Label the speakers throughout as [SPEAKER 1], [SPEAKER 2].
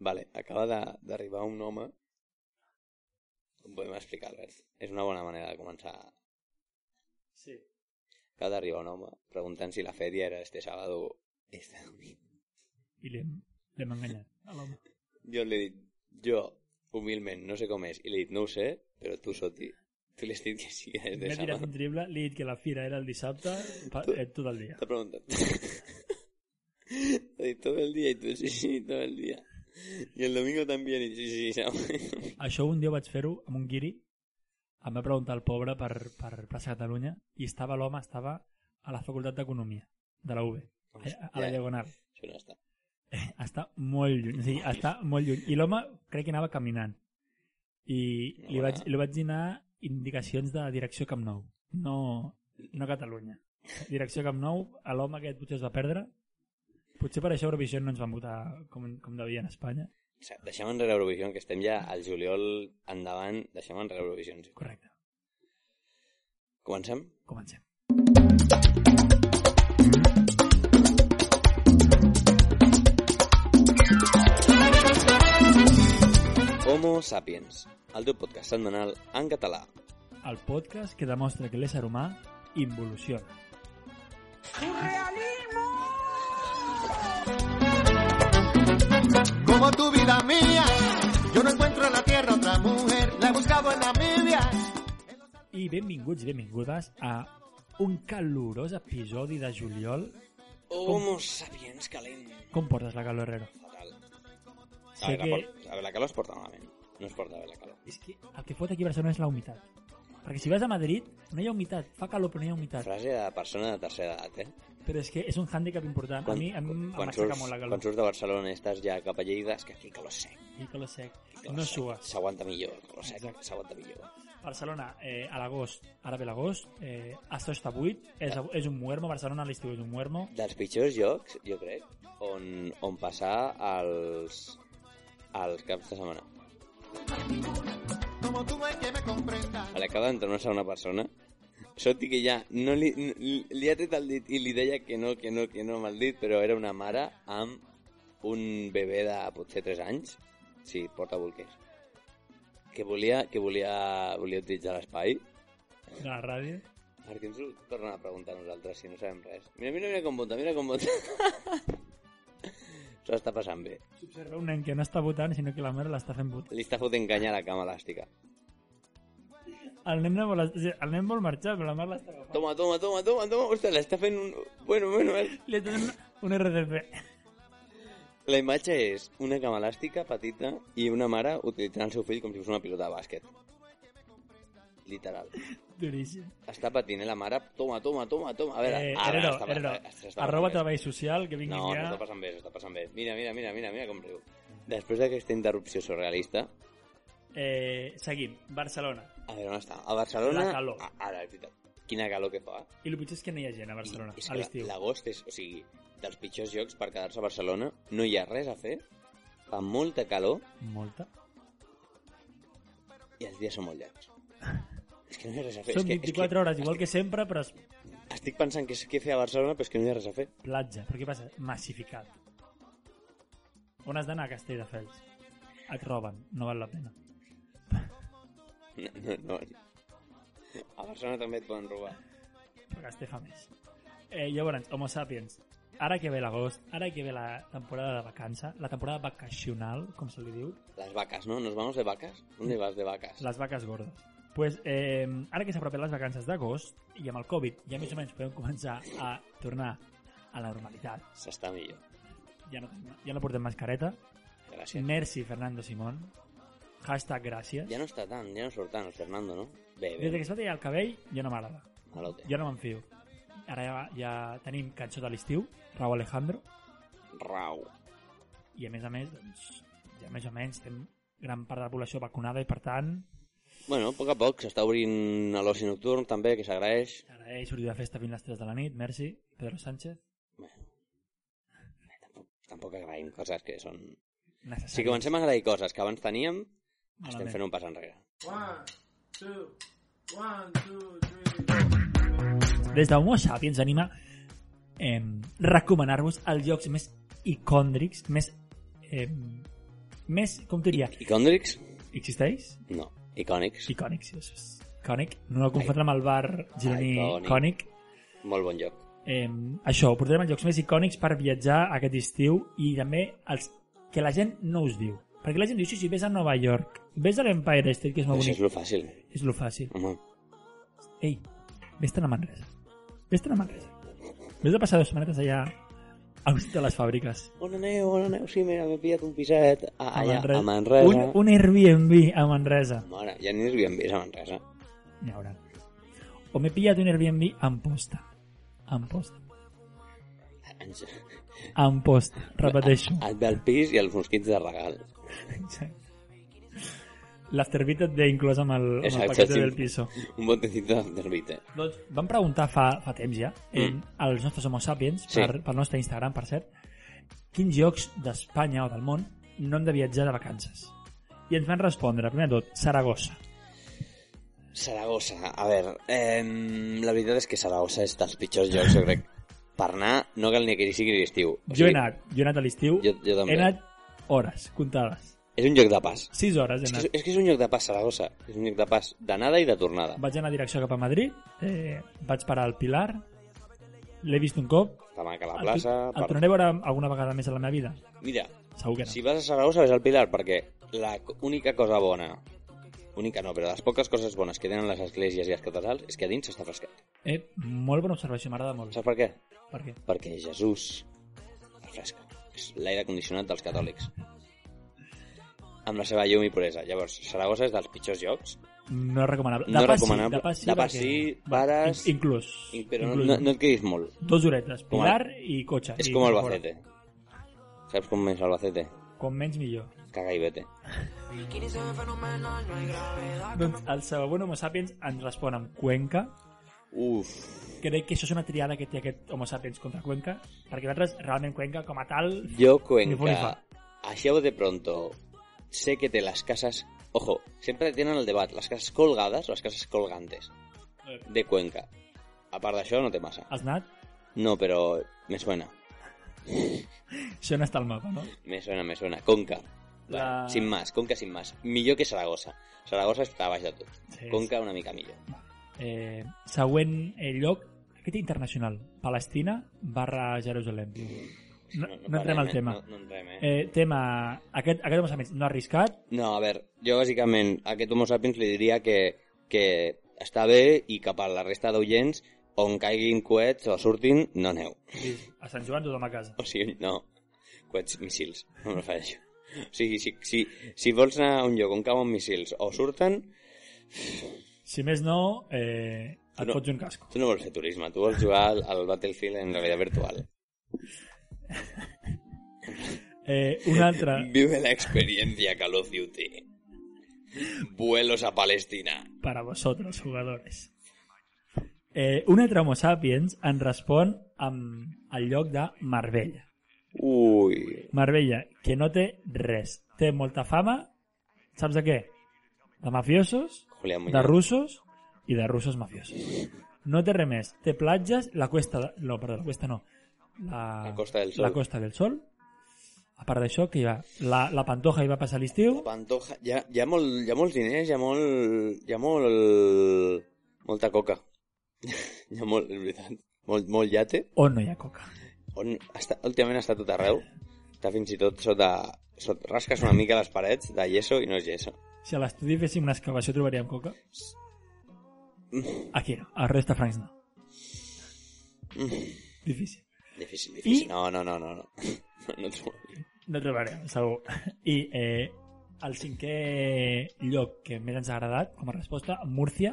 [SPEAKER 1] Vale, acaba de- d'arribar un home. Com podem explicar, Albert? És una bona manera de començar.
[SPEAKER 2] Sí.
[SPEAKER 1] Acaba d'arribar un home preguntant si la feria era este sábado. Este domingo.
[SPEAKER 2] I l'hem l'hem enganyat a l'home.
[SPEAKER 1] Jo li he dit, jo, humilment, no sé com és. I li he dit, no ho sé, però tu, Soti, tu li has dit que sí, és de
[SPEAKER 2] M'he tirat
[SPEAKER 1] sábado.
[SPEAKER 2] un drible, li he dit que la fira era el dissabte, pa, eh, tot el dia.
[SPEAKER 1] Te preguntan. Oye, todo el día y tú, sí, sí, todo el día. Y el domingo también, y sí, sí, sí.
[SPEAKER 2] Això un dia vaig fer-ho amb un guiri, em va preguntar el pobre per, per plaça Catalunya, i estava l'home, estava a la Facultat d'Economia, de la UB, a, a la
[SPEAKER 1] Ja,
[SPEAKER 2] Diagonal.
[SPEAKER 1] Això no està.
[SPEAKER 2] Està molt lluny, o sigui, està molt lluny. I l'home crec que anava caminant. I li
[SPEAKER 1] Hola.
[SPEAKER 2] vaig, li vaig donar indicacions de direcció Camp Nou, no, no Catalunya. Direcció Camp Nou, a l'home aquest potser es va perdre. Potser per això Eurovision no ens van votar com, com devia en Espanya.
[SPEAKER 1] O sea, deixem enrere Eurovision, que estem ja al juliol endavant, deixem enrere Eurovision.
[SPEAKER 2] Correcte,
[SPEAKER 1] Comencem?
[SPEAKER 2] comencem.
[SPEAKER 1] Homo Sapiens, el teu podcast setmanal en català.
[SPEAKER 2] El podcast que demostra que l'ésser humà involuciona.
[SPEAKER 3] Como tu vida mía, yo no encuentro en la tierra otra mujer, la he buscado en Namibia.
[SPEAKER 2] I benvinguts i benvingudes a un calorós episodi de juliol.
[SPEAKER 1] Homo Sapiens calent.
[SPEAKER 2] Com portes la calor, Herrero?
[SPEAKER 1] Fatal. A
[SPEAKER 2] Sé
[SPEAKER 1] veure,
[SPEAKER 2] que,
[SPEAKER 1] la, por... a veure, la calor es porta malament. No es porta bé la calor.
[SPEAKER 2] és que el que fot aquí a Barcelona és la humitat. Perquè si vas a Madrid, no hi ha humitat. Fa calor, però no hi ha humitat.
[SPEAKER 1] Frase de persona de tercera edat, eh?
[SPEAKER 2] Però és que és un hàndicap important. A mi, a mi em
[SPEAKER 1] quan,
[SPEAKER 2] m'aixeca
[SPEAKER 1] surts,
[SPEAKER 2] molt la
[SPEAKER 1] quan
[SPEAKER 2] calor.
[SPEAKER 1] surts de Barcelona i estàs ja cap a Lleida, és que aquí calor sec.
[SPEAKER 2] I calor sec.
[SPEAKER 1] Calor
[SPEAKER 2] No
[SPEAKER 1] sec.
[SPEAKER 2] sues.
[SPEAKER 1] S'aguanta millor, el calor sec,
[SPEAKER 2] Exacte.
[SPEAKER 1] s'aguanta millor.
[SPEAKER 2] Barcelona, eh, a l'agost, ara ve l'agost, eh, això està buit, és, és un muermo, Barcelona a l'estiu és un muermo.
[SPEAKER 1] Dels pitjors llocs, jo crec, on, on passar els, els caps de setmana.
[SPEAKER 3] Como tú no hay que me comprenda.
[SPEAKER 1] A l'acaba d'entrenar-se una persona, Soti que ja no li, li, li ha tret el dit i li deia que no, que no, que no amb el dit, però era una mare amb un bebè de potser 3 anys, sí, porta bolquers, que volia, que volia, volia utilitzar l'espai
[SPEAKER 2] de la ràdio.
[SPEAKER 1] Per què ens ho tornen a preguntar a nosaltres si no sabem res? Mira, mira, mira com vota, mira com vota. S'ho està passant bé.
[SPEAKER 2] S'observa un nen que no està votant, sinó que la mare l'està fent votar.
[SPEAKER 1] Li està fotent canya a la cama elàstica.
[SPEAKER 2] El nen, no vol, o sigui, el nen vol marxar, però la mare l'està agafant.
[SPEAKER 1] Toma, toma, toma, toma, toma. Ostres, l'està fent un... Bueno, bueno, eh?
[SPEAKER 2] Li ha donat un RDP.
[SPEAKER 1] La imatge és una cama elàstica petita i una mare utilitzant el seu fill com si fos una pilota de bàsquet. Literal.
[SPEAKER 2] Duríssim.
[SPEAKER 1] Està patint, eh, la mare. Toma, toma, toma, toma. A veure,
[SPEAKER 2] Eh,
[SPEAKER 1] ara
[SPEAKER 2] Herero,
[SPEAKER 1] està,
[SPEAKER 2] Herero,
[SPEAKER 1] passant- està passant
[SPEAKER 2] Arroba
[SPEAKER 1] bé.
[SPEAKER 2] treball social, que vingui
[SPEAKER 1] No, no
[SPEAKER 2] ja.
[SPEAKER 1] està passant bé, s'està passant bé. Mira, mira, mira, mira, mira com riu. Després d'aquesta interrupció surrealista,
[SPEAKER 2] Eh, seguim, Barcelona.
[SPEAKER 1] A veure, on està? A Barcelona...
[SPEAKER 2] La calor.
[SPEAKER 1] A, ara, és veritat. Quina calor que fa.
[SPEAKER 2] I el pitjor és que no hi ha gent a Barcelona,
[SPEAKER 1] I és
[SPEAKER 2] a
[SPEAKER 1] que
[SPEAKER 2] l'estiu.
[SPEAKER 1] L'agost és, o sigui, dels pitjors llocs per quedar-se a Barcelona. No hi ha res a fer. Fa molta calor
[SPEAKER 2] Molta.
[SPEAKER 1] i els dies són molt llargs. és que no hi ha res a fer.
[SPEAKER 2] Són
[SPEAKER 1] és que, és
[SPEAKER 2] 24
[SPEAKER 1] que,
[SPEAKER 2] hores, igual que sempre, però és
[SPEAKER 1] Estic, estic pensant que és què fer a Barcelona, però és que no hi ha res a fer.
[SPEAKER 2] platja. Però què passa? Massificat. On has d'anar a Castelldefels? Et roben, no val la pena.
[SPEAKER 1] No, no, no. A Barcelona també et poden robar.
[SPEAKER 2] Però Castell fa més. Eh, llavors, Homo Sapiens, ara que ve l'agost, ara que ve la temporada de vacança, la temporada vacacional, com se li diu,
[SPEAKER 1] Les vaques, no? Nos vamos de vaques? On hi vas de vaques?
[SPEAKER 2] les vaques gordes. Pues, eh, ara que s'apropen les vacances d'agost i amb el Covid ja més o menys podem començar a tornar a la normalitat.
[SPEAKER 1] S'està millor.
[SPEAKER 2] Ja no, ja no portem mascareta.
[SPEAKER 1] Gràcies.
[SPEAKER 2] Merci, Fernando Simón. Hashtag gràcies.
[SPEAKER 1] Ja no està tant, ja no surt tant el Fernando, no? Bé,
[SPEAKER 2] Des que
[SPEAKER 1] bé,
[SPEAKER 2] es va tallar el cabell ja no m'agrada.
[SPEAKER 1] malote.
[SPEAKER 2] Ja no m'enfio. Ara ja, ja tenim cançó de l'estiu, Raúl Alejandro,
[SPEAKER 1] Rau.
[SPEAKER 2] i a més a més, doncs, ja més o menys tenim gran part de la població vacunada i per tant
[SPEAKER 1] Bueno, a poc a poc s'està obrint a l'oci nocturn també, que s'agraeix.
[SPEAKER 2] t'agraeix sortir de festa fins les 3 de la nit, merci, Pedro Sánchez.
[SPEAKER 1] Bueno, tampoc, tampoc agraïm coses que són...
[SPEAKER 2] Necessari.
[SPEAKER 1] Si comencem a agrair coses que abans teníem, estem
[SPEAKER 2] Malament.
[SPEAKER 1] fent un pas enrere.
[SPEAKER 2] Des d'Homo Sapiens anima eh, recomanar-vos els llocs més icòndrics, més eh, Més, com t'ho diria,
[SPEAKER 1] Iconics?
[SPEAKER 2] existeix?
[SPEAKER 1] No. Iconics.
[SPEAKER 2] Icònic, sí, això és icònic. No el confondre amb el bar gironí
[SPEAKER 1] Icònic.
[SPEAKER 2] icònic.
[SPEAKER 1] Molt bon lloc.
[SPEAKER 2] Eh, això, ho portarem als llocs més icònics per viatjar aquest estiu i també els que la gent no us diu. Perquè la gent diu, sí, sí, vés a Nova York, vés a l'Empire State, que és molt
[SPEAKER 1] Això
[SPEAKER 2] bonic.
[SPEAKER 1] és lo fàcil.
[SPEAKER 2] És lo fàcil.
[SPEAKER 1] Home.
[SPEAKER 2] Ei, vés-te'n a Manresa. Vés-te'n a Manresa. Vés a passar dues setmanetes allà al costat de les fàbriques.
[SPEAKER 1] On aneu, on aneu? Sí, mira, m'he pillat un piset a,
[SPEAKER 2] A
[SPEAKER 1] allà,
[SPEAKER 2] Manresa.
[SPEAKER 1] a Manresa.
[SPEAKER 2] Un, un Airbnb a Manresa.
[SPEAKER 1] Mare, ja ni s'havien vist a Manresa.
[SPEAKER 2] N'hi haurà. O m'he pillat un Airbnb a Amposta. A Amposta.
[SPEAKER 1] Ens-
[SPEAKER 2] A Amposta. Repeteixo.
[SPEAKER 1] Et ve el pis i els mosquits de regal.
[SPEAKER 2] Exacte. L'afterbit et ve inclòs amb el, amb el
[SPEAKER 1] Exacte,
[SPEAKER 2] paquete
[SPEAKER 1] sí.
[SPEAKER 2] del piso.
[SPEAKER 1] Un bon tecito d'afterbite.
[SPEAKER 2] Doncs vam preguntar fa, fa temps ja, eh,
[SPEAKER 1] Mm.
[SPEAKER 2] als nostres homo sapiens,
[SPEAKER 1] Sí.
[SPEAKER 2] per, pel nostre Instagram, per cert, quins llocs d'Espanya o del món no hem de viatjar de vacances. I ens van respondre, primer de tot, Saragossa.
[SPEAKER 1] Saragossa, a veure, eh, la veritat és que Saragossa és dels pitjors llocs, jo crec. Per anar, no cal ni que hi sigui l'estiu. O
[SPEAKER 2] Jo he anat, jo he anat a l'estiu,
[SPEAKER 1] Jo, jo
[SPEAKER 2] he
[SPEAKER 1] també.
[SPEAKER 2] anat hores, comptades.
[SPEAKER 1] És un lloc de pas.
[SPEAKER 2] 6 hores he
[SPEAKER 1] És que,
[SPEAKER 2] anat.
[SPEAKER 1] és, és que és un lloc de pas, Saragossa. És un lloc de pas d'anada i de tornada.
[SPEAKER 2] Vaig anar direcció cap a Madrid, eh, vaig parar al Pilar, l'he vist un cop,
[SPEAKER 1] Te manca la
[SPEAKER 2] el,
[SPEAKER 1] plaça...
[SPEAKER 2] el tornaré a veure alguna vegada més a la meva vida.
[SPEAKER 1] Mira,
[SPEAKER 2] Segur que no.
[SPEAKER 1] si vas a Saragossa ves al Pilar, perquè la co- única cosa bona... Única no, però de les poques coses bones que tenen les esglésies i els catedrals és que a dins està fresquet.
[SPEAKER 2] Eh, molt bona observació, m'agrada molt.
[SPEAKER 1] Saps per què?
[SPEAKER 2] Per què?
[SPEAKER 1] Perquè Jesús el fresca. És l'aire condicionat dels catòlics. Amb la seva llum i puresa. Llavors, Saragossa és dels pitjors llocs,
[SPEAKER 2] No és recomanable.
[SPEAKER 1] No
[SPEAKER 2] De
[SPEAKER 1] és
[SPEAKER 2] pas sí,
[SPEAKER 1] recomanable.
[SPEAKER 2] De pas sí,
[SPEAKER 1] De pas
[SPEAKER 2] perquè-
[SPEAKER 1] sí,
[SPEAKER 2] va,
[SPEAKER 1] vares,
[SPEAKER 2] in- Inclús.
[SPEAKER 1] i- però no,
[SPEAKER 2] inclús.
[SPEAKER 1] no, no et quedis molt.
[SPEAKER 2] Dos horetes,
[SPEAKER 1] Com
[SPEAKER 2] Pilar i cotxe.
[SPEAKER 1] És
[SPEAKER 2] i
[SPEAKER 1] com
[SPEAKER 2] fora.
[SPEAKER 1] Albacete. Saps com és Albacete?
[SPEAKER 2] Com menys millor.
[SPEAKER 1] Caga i vete.
[SPEAKER 2] Doncs el següent Homo Sapiens ens respon amb Cuenca.
[SPEAKER 1] Uf,
[SPEAKER 2] Crec que això és una triada que té aquest Homo Sapiens contra Cuenca, perquè nosaltres realment Cuenca com a tal...
[SPEAKER 1] jo
[SPEAKER 2] Ni fu ni fa.
[SPEAKER 1] Cuenca. Això de pronto. Sé que té les cases... Ojo, sempre tenen el debat, les cases colgades o les cases colgantes de Cuenca. A part d'això, no té massa.
[SPEAKER 2] Has anat?
[SPEAKER 1] No, però me suena.
[SPEAKER 2] Això no està al mapa, no?
[SPEAKER 1] Me suena, me suena. Conca.
[SPEAKER 2] La-
[SPEAKER 1] La... Sin más, Conca sin más. Millor que Saragossa. Saragossa està baix de tot.
[SPEAKER 2] Sí,
[SPEAKER 1] Conca una mica millor.
[SPEAKER 2] Eh, següent eh, lloc, aquest internacional, Palestina barra Jerusalem. No, no, entrem
[SPEAKER 1] parlem,
[SPEAKER 2] al
[SPEAKER 1] eh?
[SPEAKER 2] tema.
[SPEAKER 1] No, no entrem, eh? eh?
[SPEAKER 2] Eh, tema... Aquest, aquest Homo Sapiens no ha arriscat,
[SPEAKER 1] No, a veure, jo bàsicament a aquest homo sapiens li diria que, que està bé i cap a la resta d'oients on caiguin coets o surtin, no aneu.
[SPEAKER 2] Dius, a Sant Joan tothom a casa.
[SPEAKER 1] O sigui, no. Coets, missils. No me'l faig. O sigui, si, si, si vols anar a un lloc on cauen missils o surten,
[SPEAKER 2] Si més no, eh, et
[SPEAKER 1] No.
[SPEAKER 2] fots un casco.
[SPEAKER 1] tu no vols fer turisme, tu vols jugar al, al Battlefield en realitat virtual.
[SPEAKER 2] Eh, un altre,
[SPEAKER 1] Vive la experiencia Call of Duty. Vuelos a Palestina.
[SPEAKER 2] para vosotros, jugadores. Eh, un altre homo sapiens en respon amb el lloc de Marbella.
[SPEAKER 1] Ui.
[SPEAKER 2] Marbella, que no té res. Té molta fama, saps de què? De mafiosos,
[SPEAKER 1] Julián Muñoz.
[SPEAKER 2] de russos i de russos mafiosos. No té res més. Té platges, la cuesta... De... No, perdó, la cuesta no. La,
[SPEAKER 1] La Costa del Sol.
[SPEAKER 2] La costa del sol. A part d'això, que hi va... La, la Pantoja hi va passar l'estiu.
[SPEAKER 1] La Pantoja... Hi ha, hi, ha molt, hi ha molts diners, hi ha molt... Hi ha molt... Molta coca. hi ha molt, en veritat. Molt, molt llate.
[SPEAKER 2] On no hi ha coca.
[SPEAKER 1] On està, últimament està tot arreu. Està fins i tot sota, sota... Rasques una mica les parets de yeso i no és yeso.
[SPEAKER 2] Si a l'estudi féssim una excavació trobaríem coca.
[SPEAKER 1] Mm.
[SPEAKER 2] Aquí no, al resta francs no. Difícil.
[SPEAKER 1] Mm. Difícil, difícil.
[SPEAKER 2] I-
[SPEAKER 1] No, no, no, no. No, no, trobo.
[SPEAKER 2] No trobarem, segur. I eh, el cinquè lloc que més ens ha agradat com a resposta, Múrcia,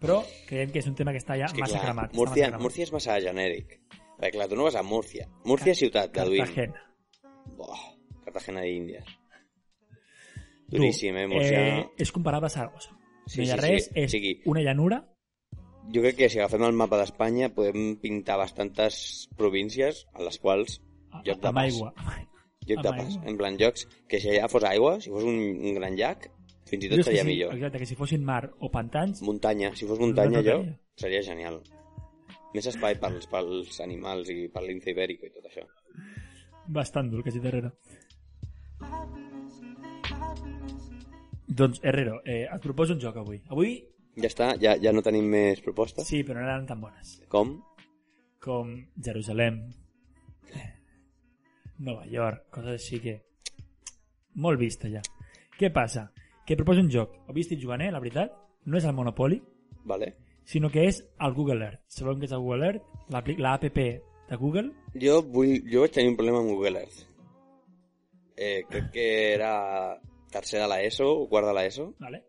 [SPEAKER 2] però creiem que és un tema que està ja
[SPEAKER 1] És que,
[SPEAKER 2] massa
[SPEAKER 1] clar,
[SPEAKER 2] cremat. està
[SPEAKER 1] Múrcia,
[SPEAKER 2] massa cremat.
[SPEAKER 1] Múrcia és massa genèric. Perquè, clar, tu no vas a Múrcia. Múrcia és ciutat, Calvin.
[SPEAKER 2] Cartagena.
[SPEAKER 1] Buah, Cartagena d'Índies. Duríssim, eh, Múrcia.
[SPEAKER 2] Eh, és comparable a Saragossa.
[SPEAKER 1] Sí,
[SPEAKER 2] no hi ha
[SPEAKER 1] sí,
[SPEAKER 2] res,
[SPEAKER 1] sí. O
[SPEAKER 2] és
[SPEAKER 1] sigui-
[SPEAKER 2] una llanura,
[SPEAKER 1] Jo crec que si agafem el mapa d'Espanya podem pintar bastantes províncies en les quals lloc de
[SPEAKER 2] amb
[SPEAKER 1] pas.
[SPEAKER 2] aigua. amb aigua.
[SPEAKER 1] Lloc de
[SPEAKER 2] Amb
[SPEAKER 1] pas.
[SPEAKER 2] aigua.
[SPEAKER 1] En plan, llocs que si allà fos aigua, si fos un, un gran llac, fins i tot
[SPEAKER 2] Dius que
[SPEAKER 1] seria
[SPEAKER 2] sí,
[SPEAKER 1] millor.
[SPEAKER 2] Exacte, que si fossin mar o pantans,
[SPEAKER 1] Muntanya, si fos muntanya
[SPEAKER 2] Nosaltres
[SPEAKER 1] allò,
[SPEAKER 2] tenia.
[SPEAKER 1] seria genial. Més espai pels, pels animals i per l'ince ibèric i tot això.
[SPEAKER 2] bastant dur, quasi darrere. Doncs, Herrero, eh, et proposo un joc avui. Avui,
[SPEAKER 1] Ja està, ja, ja no tenim més propostes.
[SPEAKER 2] sí, però no eren tan bones.
[SPEAKER 1] Com?
[SPEAKER 2] Com Jerusalem, Nova York, coses així que... Molt vista, ja. Què passa? Que proposo un joc. Avui estic jugant, eh, la veritat. No és el Monopoly,
[SPEAKER 1] Vale.
[SPEAKER 2] sinó que és el Google Earth. Sabeu què és el Google Earth? L'apli- L'APP de Google.
[SPEAKER 1] Jo, vull, jo vaig tenir un problema amb Google Earth. Eh, crec que era tercera a la ESO o quarta a la ESO.
[SPEAKER 2] Vale?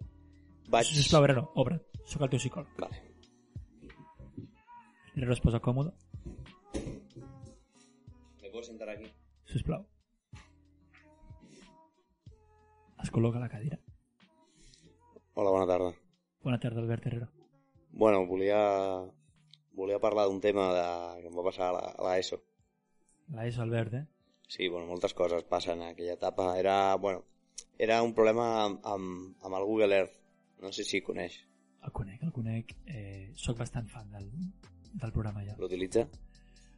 [SPEAKER 1] Vaig...
[SPEAKER 2] Sisplau, Herrero, obre't. Sóc el teu psicòleg.
[SPEAKER 1] Vale.
[SPEAKER 2] Herrero es posa còmode.
[SPEAKER 1] Me puedo sentar aquí.
[SPEAKER 2] Sisplau. Es col·loca a la cadira.
[SPEAKER 1] Hola, bona tarda.
[SPEAKER 2] Bona tarda, Albert Herrero.
[SPEAKER 1] Bueno, volia, volia parlar d'un tema de... que em va passar a la, a la ESO.
[SPEAKER 2] La és Albert, eh?
[SPEAKER 1] Sí, bueno, moltes coses passen a aquella etapa. Era, bueno, era un problema amb, amb, amb el Google Earth. No sé si coneix.
[SPEAKER 2] El conec, el conec. Eh, soc bastant fan del, del programa ja.
[SPEAKER 1] L'utilitza?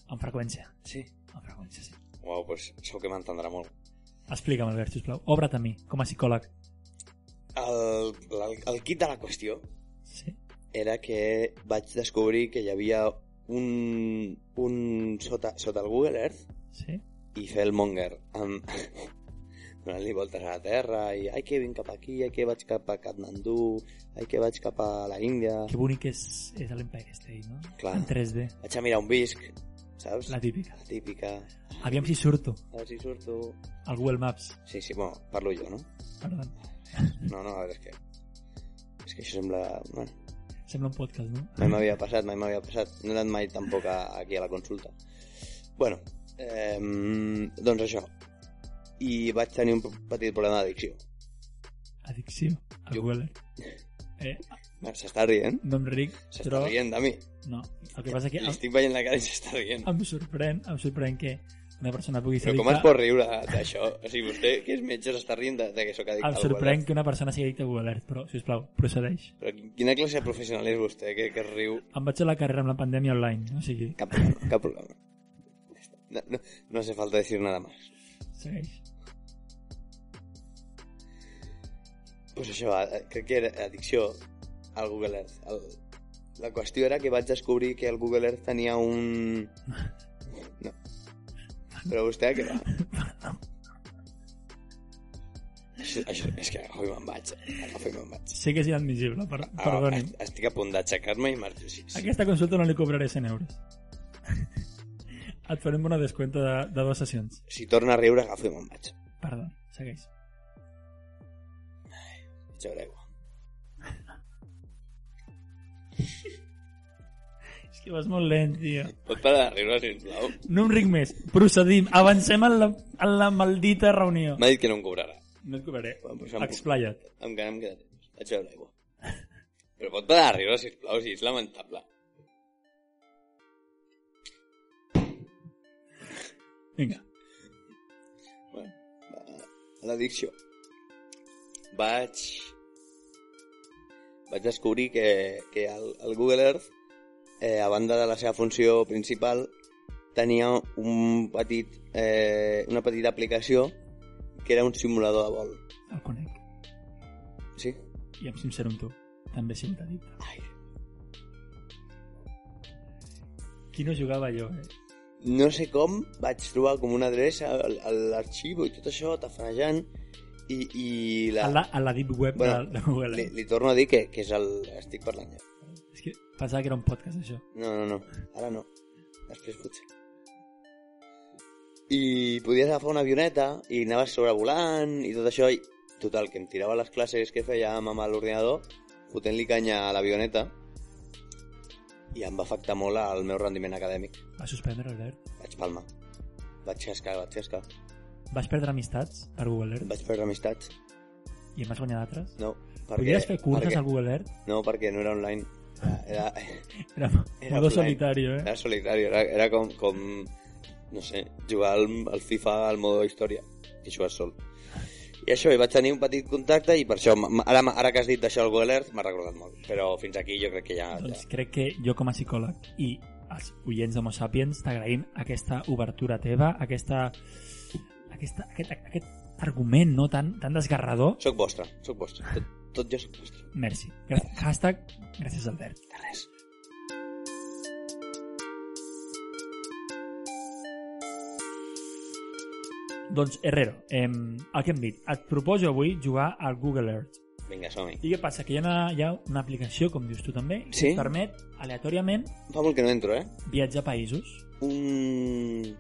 [SPEAKER 2] Amb freqüència,
[SPEAKER 1] Sí.
[SPEAKER 2] amb freqüència, sí.
[SPEAKER 1] Uau, doncs pues, això que m'entendrà molt.
[SPEAKER 2] Explica'm, Albert, sisplau. Obre't a mi, com a psicòleg.
[SPEAKER 1] El, el, el kit de la qüestió
[SPEAKER 2] Sí?
[SPEAKER 1] era que vaig descobrir que hi havia un, un sota, sota el Google Earth
[SPEAKER 2] Sí?
[SPEAKER 1] i fer el monger amb... donant-li voltes a la terra i ai que vinc cap aquí, ai que vaig cap a Kathmandú, ai que vaig cap a la Índia
[SPEAKER 2] Que bonic és, és l'Empire State, no?
[SPEAKER 1] Clar.
[SPEAKER 2] En 3D,
[SPEAKER 1] vaig a mirar un bisc, saps?
[SPEAKER 2] la típica.
[SPEAKER 1] la típica,
[SPEAKER 2] Aviam si surto
[SPEAKER 1] a veure si surto
[SPEAKER 2] al Google Maps.
[SPEAKER 1] sí, sí, bueno, parlo jo, no?
[SPEAKER 2] Perdó.
[SPEAKER 1] no, no, a veure, és que és que això sembla... Bueno,
[SPEAKER 2] Sembla un podcast, no?
[SPEAKER 1] mai m'havia passat, mai m'havia passat. No he anat mai tampoc a, aquí a la consulta. Bueno, eh, doncs això. I vaig tenir un petit problema d'adicció.
[SPEAKER 2] Addicció al
[SPEAKER 1] Jo-
[SPEAKER 2] Google. Eh,
[SPEAKER 1] S'està rient?
[SPEAKER 2] no em ric,
[SPEAKER 1] S'està
[SPEAKER 2] però...
[SPEAKER 1] rient de mi.
[SPEAKER 2] No, el que passa és que
[SPEAKER 1] Li
[SPEAKER 2] em,
[SPEAKER 1] estic veient la cara i s'està rient.
[SPEAKER 2] em sorprèn, em sorprèn que una persona pugui ser
[SPEAKER 1] Però com
[SPEAKER 2] addicta-
[SPEAKER 1] es pot riure d'això? O sigui, vostè, que és metge, s'està rient de, de que sóc addicte
[SPEAKER 2] Em
[SPEAKER 1] al
[SPEAKER 2] sorprèn
[SPEAKER 1] Google Earth.
[SPEAKER 2] que una persona sigui addicta a Google Earth, però, sisplau, procedeix.
[SPEAKER 1] Però quina classe de professional és vostè que, que es riu?
[SPEAKER 2] Em vaig a la carrera amb la pandèmia online, o sigui,
[SPEAKER 1] Cap problema, cap problema. No, no, no hace falta decir nada más.
[SPEAKER 2] segueix.
[SPEAKER 1] pues això, eh, crec que era addicció al Google Earth. El... La qüestió era que vaig descobrir que el Google Earth tenia un... No. Però vostè que va? Això, això, és que agafo i me'n vaig. eh? Agafo i me'n vaig.
[SPEAKER 2] Sé que és inadmissible, per,
[SPEAKER 1] Ah,
[SPEAKER 2] perdoni.
[SPEAKER 1] est- estic a punt d'aixecar-me i marxo. Sí, sí.
[SPEAKER 2] Aquesta consulta no li cobraré 100 euros. Et farem una descompte de, de dues sessions.
[SPEAKER 1] Si torna a riure, agafo i me'n vaig.
[SPEAKER 2] Perdó, segueix.
[SPEAKER 1] Vaig a veure aigua.
[SPEAKER 2] És que vas molt lent, tio.
[SPEAKER 1] Pot parar de riure, sisplau?
[SPEAKER 2] No em ric més. Procedim. Avancem en la, en la maldita reunió.
[SPEAKER 1] M'ha dit que no em cobrarà.
[SPEAKER 2] No et cobraré.
[SPEAKER 1] Bueno, pues em-
[SPEAKER 2] Explaya't.
[SPEAKER 1] Encara em queda temps. Vaig a veure aigua. Però pot parar de riure, sisplau, si és lamentable.
[SPEAKER 2] Vinga.
[SPEAKER 1] Bueno, a l'addicció. Vaig... Vaig descobrir que, que el, el Google Earth, eh, a banda de la seva funció principal, tenia un petit, eh, una petita aplicació que era un simulador de vol.
[SPEAKER 2] El conec.
[SPEAKER 1] Sí?
[SPEAKER 2] I em sincero amb tu. També sí, t'ha dit.
[SPEAKER 1] Ai.
[SPEAKER 2] Qui no jugava jo, eh?
[SPEAKER 1] No sé com vaig trobar com una adreça al- a l'arxiu i tot això, tafanejant, i, i la...
[SPEAKER 2] A la, a la deep web
[SPEAKER 1] Bueno,
[SPEAKER 2] de, de Google.
[SPEAKER 1] Li, li torno a dir que, que és el... Estic parlant jo.
[SPEAKER 2] És que pensava que era un podcast, això.
[SPEAKER 1] No, no, no. Ara no. Després potser. I podies agafar una avioneta i anaves sobrevolant i tot això. I, total, que em tirava les classes que fèiem amb l'ordinador fotent-li canya a l'avioneta i em va afectar molt el meu rendiment acadèmic.
[SPEAKER 2] Va suspendre, Albert.
[SPEAKER 1] Vaig palmar. Vaig cascar, vaig cascar.
[SPEAKER 2] Vas perdre amistats per Google Earth
[SPEAKER 1] Vaig perdre amistats.
[SPEAKER 2] i en vas guanyar d'altres?
[SPEAKER 1] No, perquè...
[SPEAKER 2] Podries fer curses
[SPEAKER 1] perquè,
[SPEAKER 2] al Ah. Google Earth?
[SPEAKER 1] No, perquè no era online. Era,
[SPEAKER 2] Era,
[SPEAKER 1] Era
[SPEAKER 2] era modo
[SPEAKER 1] offline.
[SPEAKER 2] solitario, eh?
[SPEAKER 1] era solitari, era, era com, com, no sé, jugar al, al FIFA al modo història i jugar sol. I això, hi vaig tenir un petit contacte i per això, m- ara, m- ara que has dit això al Google Earth, m'ha recordat molt. Però fins aquí jo crec que ja... ja.
[SPEAKER 2] Doncs crec que jo com a psicòleg i els oients d'Homo Sapiens t'agraïm aquesta obertura teva, aquesta, aquesta, aquest, aquest, aquest argument no tan, tan desgarrador.
[SPEAKER 1] Soc vostre, soc vostre. Tot, tot jo soc vostre.
[SPEAKER 2] Merci. Gra hashtag gràcies Albert.
[SPEAKER 1] De res.
[SPEAKER 2] Doncs Herrero, eh, el que hem dit, et proposo avui jugar al Google Earth.
[SPEAKER 1] Vinga, som-hi.
[SPEAKER 2] I què passa? Que hi ha, una, hi ha una aplicació, com dius tu també, que
[SPEAKER 1] Sí.
[SPEAKER 2] et permet aleatòriament
[SPEAKER 1] Fa molt que no entro, eh?
[SPEAKER 2] viatjar a països,
[SPEAKER 1] Un...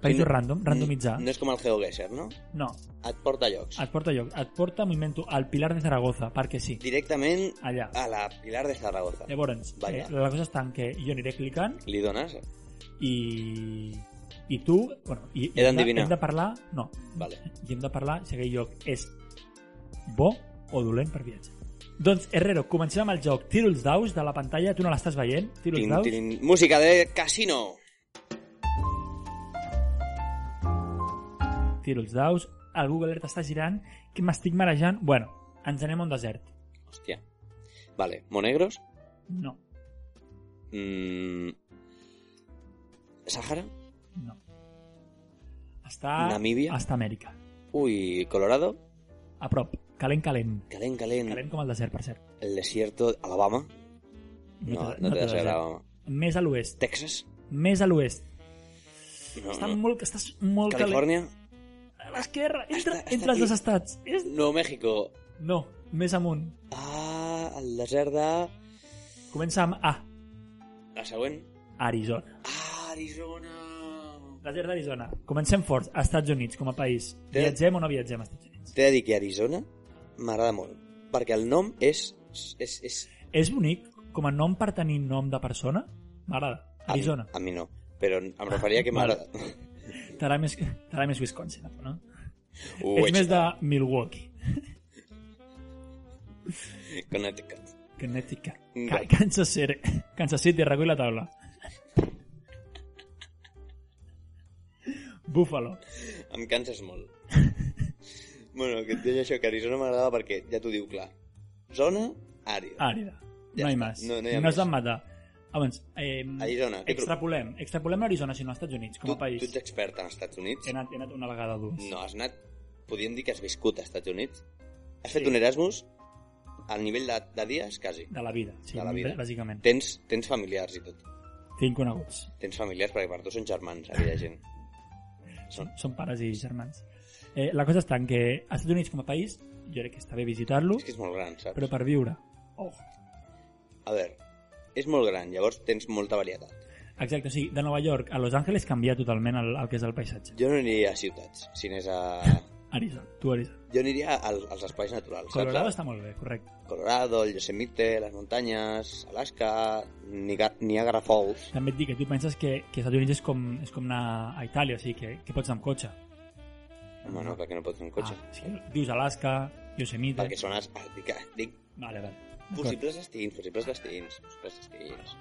[SPEAKER 2] països
[SPEAKER 1] Mm,
[SPEAKER 2] random, randomitzar. Ah.
[SPEAKER 1] No és com el GeoGuessr, no?
[SPEAKER 2] No,
[SPEAKER 1] Et porta a llocs.
[SPEAKER 2] et porta lloc, et porta, m'ho invento, al Pilar de Zaragoza, perquè sí,
[SPEAKER 1] Directament
[SPEAKER 2] allà.
[SPEAKER 1] a la Pilar de Zaragoza.
[SPEAKER 2] Ah. Llavors, eh,
[SPEAKER 1] Vaja.
[SPEAKER 2] la cosa està en que jo aniré clicant
[SPEAKER 1] Li dones?
[SPEAKER 2] i, i tu... Bueno, i, i
[SPEAKER 1] He
[SPEAKER 2] hem de-
[SPEAKER 1] d'endevinar.
[SPEAKER 2] Hem de parlar... No,
[SPEAKER 1] Vale.
[SPEAKER 2] i hem de parlar si aquell lloc és bo o dolent per viatjar. Doncs, Herrero, comencem amb el joc. Tiro els daus de la pantalla, tu no l'estàs veient? Tiro els
[SPEAKER 1] Tin,
[SPEAKER 2] daus?
[SPEAKER 1] tin. Música de casino.
[SPEAKER 2] Tiro els daus. El Google Earth està girant, que m'estic marejant. Bueno, ens anem a un desert.
[SPEAKER 1] Hòstia. Vale, Monegros.
[SPEAKER 2] No,
[SPEAKER 1] Mm... Sàhara.
[SPEAKER 2] no. Està...
[SPEAKER 1] Namíbia?
[SPEAKER 2] Està a Amèrica.
[SPEAKER 1] Ui, Colorado.
[SPEAKER 2] A prop. Calent, calent.
[SPEAKER 1] Calent, calent.
[SPEAKER 2] Calent com el desert, per cert.
[SPEAKER 1] El desierto. Alabama. No, no, te
[SPEAKER 2] t'agrada.
[SPEAKER 1] das Alabama.
[SPEAKER 2] Més a l'oest.
[SPEAKER 1] Texas.
[SPEAKER 2] Més a l'oest.
[SPEAKER 1] No,
[SPEAKER 2] Està
[SPEAKER 1] no.
[SPEAKER 2] molt... Estàs molt calent.
[SPEAKER 1] Mm. Califòrnia.
[SPEAKER 2] A l'esquerra. Entre,
[SPEAKER 1] Està- està
[SPEAKER 2] entre els
[SPEAKER 1] aquí.
[SPEAKER 2] dos estats. És...
[SPEAKER 1] No, México.
[SPEAKER 2] No, més amunt.
[SPEAKER 1] Ah, el desert de...
[SPEAKER 2] Comença amb A.
[SPEAKER 1] La següent.
[SPEAKER 2] Arizona.
[SPEAKER 1] Ah, Arizona.
[SPEAKER 2] Desert d'Arizona. Comencem forts. A Estats Units, com a país.
[SPEAKER 1] Té-
[SPEAKER 2] Viatgem o no viatgem a Estats Units?
[SPEAKER 1] T'he de dir que Arizona m'agrada molt, perquè el nom és... és, és
[SPEAKER 2] És bonic com a nom per tenir nom de persona? M'agrada.
[SPEAKER 1] a mi-
[SPEAKER 2] Arizona.
[SPEAKER 1] A mi no, però em referia que m'agrada.
[SPEAKER 2] T'agrada més, t'agrada més Wisconsin, no?
[SPEAKER 1] Ho
[SPEAKER 2] Ets
[SPEAKER 1] veig,
[SPEAKER 2] més de Milwaukee.
[SPEAKER 1] Connecticut.
[SPEAKER 2] Connecticut.
[SPEAKER 1] Mm,
[SPEAKER 2] Ca
[SPEAKER 1] vale.
[SPEAKER 2] Kansas City. Kansas City, recull la taula. Buffalo.
[SPEAKER 1] Em canses molt. bueno, que et deia això, que Arizona m'agradava perquè ja t'ho diu clar. Zona, àrea.
[SPEAKER 2] Àrida.
[SPEAKER 1] Ja
[SPEAKER 2] no hi
[SPEAKER 1] està.
[SPEAKER 2] Ah, més.
[SPEAKER 1] No- no hi ha
[SPEAKER 2] es
[SPEAKER 1] més.
[SPEAKER 2] van matar. Abans, eh,
[SPEAKER 1] Arizona, què truc?
[SPEAKER 2] extrapolem. Extrapolem Arizona, si no, als Estats Units, com
[SPEAKER 1] Tu,
[SPEAKER 2] a
[SPEAKER 1] tu
[SPEAKER 2] país.
[SPEAKER 1] ets expert en Estats Units?
[SPEAKER 2] He anat, he anat una vegada o dues.
[SPEAKER 1] No, has anat... Podríem dir que has viscut a Estats Units? Has
[SPEAKER 2] Sí.
[SPEAKER 1] fet un Erasmus al nivell de, de dies, quasi.
[SPEAKER 2] De la vida, sí,
[SPEAKER 1] De la vida.
[SPEAKER 2] bà- bàsicament.
[SPEAKER 1] Tens, tens familiars i tot.
[SPEAKER 2] Tinc coneguts.
[SPEAKER 1] Tens familiars perquè per tu són germans, aquella gent.
[SPEAKER 2] Són, són pares i germans. Eh, la cosa està en que als Estats Units com a país jo crec que està bé visitar-lo,
[SPEAKER 1] És que és molt gran, saps?
[SPEAKER 2] però per viure... Oh,
[SPEAKER 1] A veure, és molt gran, llavors tens molta varietat.
[SPEAKER 2] exacte, o sigui, de Nova York a Los Angeles canvia totalment el, el que és el paisatge.
[SPEAKER 1] Jo no aniria a ciutats, si anés a...
[SPEAKER 2] Arizona, tu Arizona.
[SPEAKER 1] Jo aniria al, als espais naturals. saps?
[SPEAKER 2] Colorado està molt bé, correcte.
[SPEAKER 1] Colorado, el Yosemite, les muntanyes, Alaska, Niga- Niagara Falls...
[SPEAKER 2] També et dic que tu penses que, que als Estats Units és com, és com anar a Itàlia, o sigui, que, que pots anar amb cotxe.
[SPEAKER 1] Home, no, perquè no pots fer un cotxe.
[SPEAKER 2] Ah, o sigui, dius Alaska, Yosemite...
[SPEAKER 1] Perquè són... Es... ah, Dic, ah, dic
[SPEAKER 2] Vale, vale. D'acord.
[SPEAKER 1] possibles destins, possibles destins, possibles destins.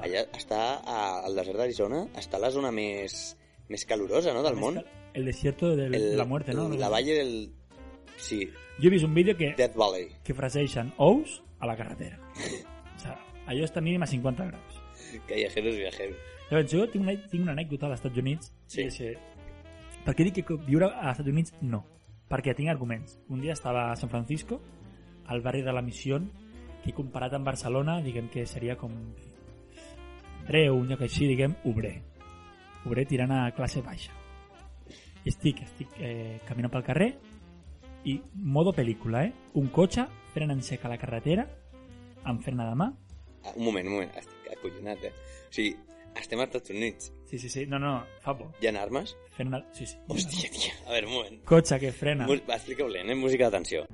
[SPEAKER 1] Allà està, a, al desert d'Arizona, està la zona més, més calurosa, no?, del món.
[SPEAKER 2] El desierto de la muerte, no?
[SPEAKER 1] La valle del... Sí,
[SPEAKER 2] Jo he vist un vídeo que
[SPEAKER 1] Death Valley.
[SPEAKER 2] que freseixen ous a la carretera. O sigui, allò està mínim a 50 graus.
[SPEAKER 1] Callejeros viajeros.
[SPEAKER 2] Llavors, jo tinc una, tinc una anècdota als Estats Units.
[SPEAKER 1] Sí.
[SPEAKER 2] i és que- Per què dic que co- viure als Estats Units no? Perquè tinc arguments. Un dia estava a San Francisco, al barri de la Misión, que comparat amb Barcelona, diguem que seria com Andreu, un lloc així, diguem, obrer. Obrer tirant a classe baixa. I estic, estic eh, caminant pel carrer i modo pel·lícula, eh? Un cotxe frena en sec a la carretera, em frena de mà,
[SPEAKER 1] Ah, un moment, un moment, estic acollonat, eh? O sigui, estem als Estats Units.
[SPEAKER 2] sí, sí, sí, no, no, fa por,
[SPEAKER 1] Hi ha armes?
[SPEAKER 2] frena, sí, sí.
[SPEAKER 1] Hòstia, tia. A veure, un moment.
[SPEAKER 2] Cotxe que frena.
[SPEAKER 1] Mu- Va, Explica-ho lent, eh? Música d'atenció.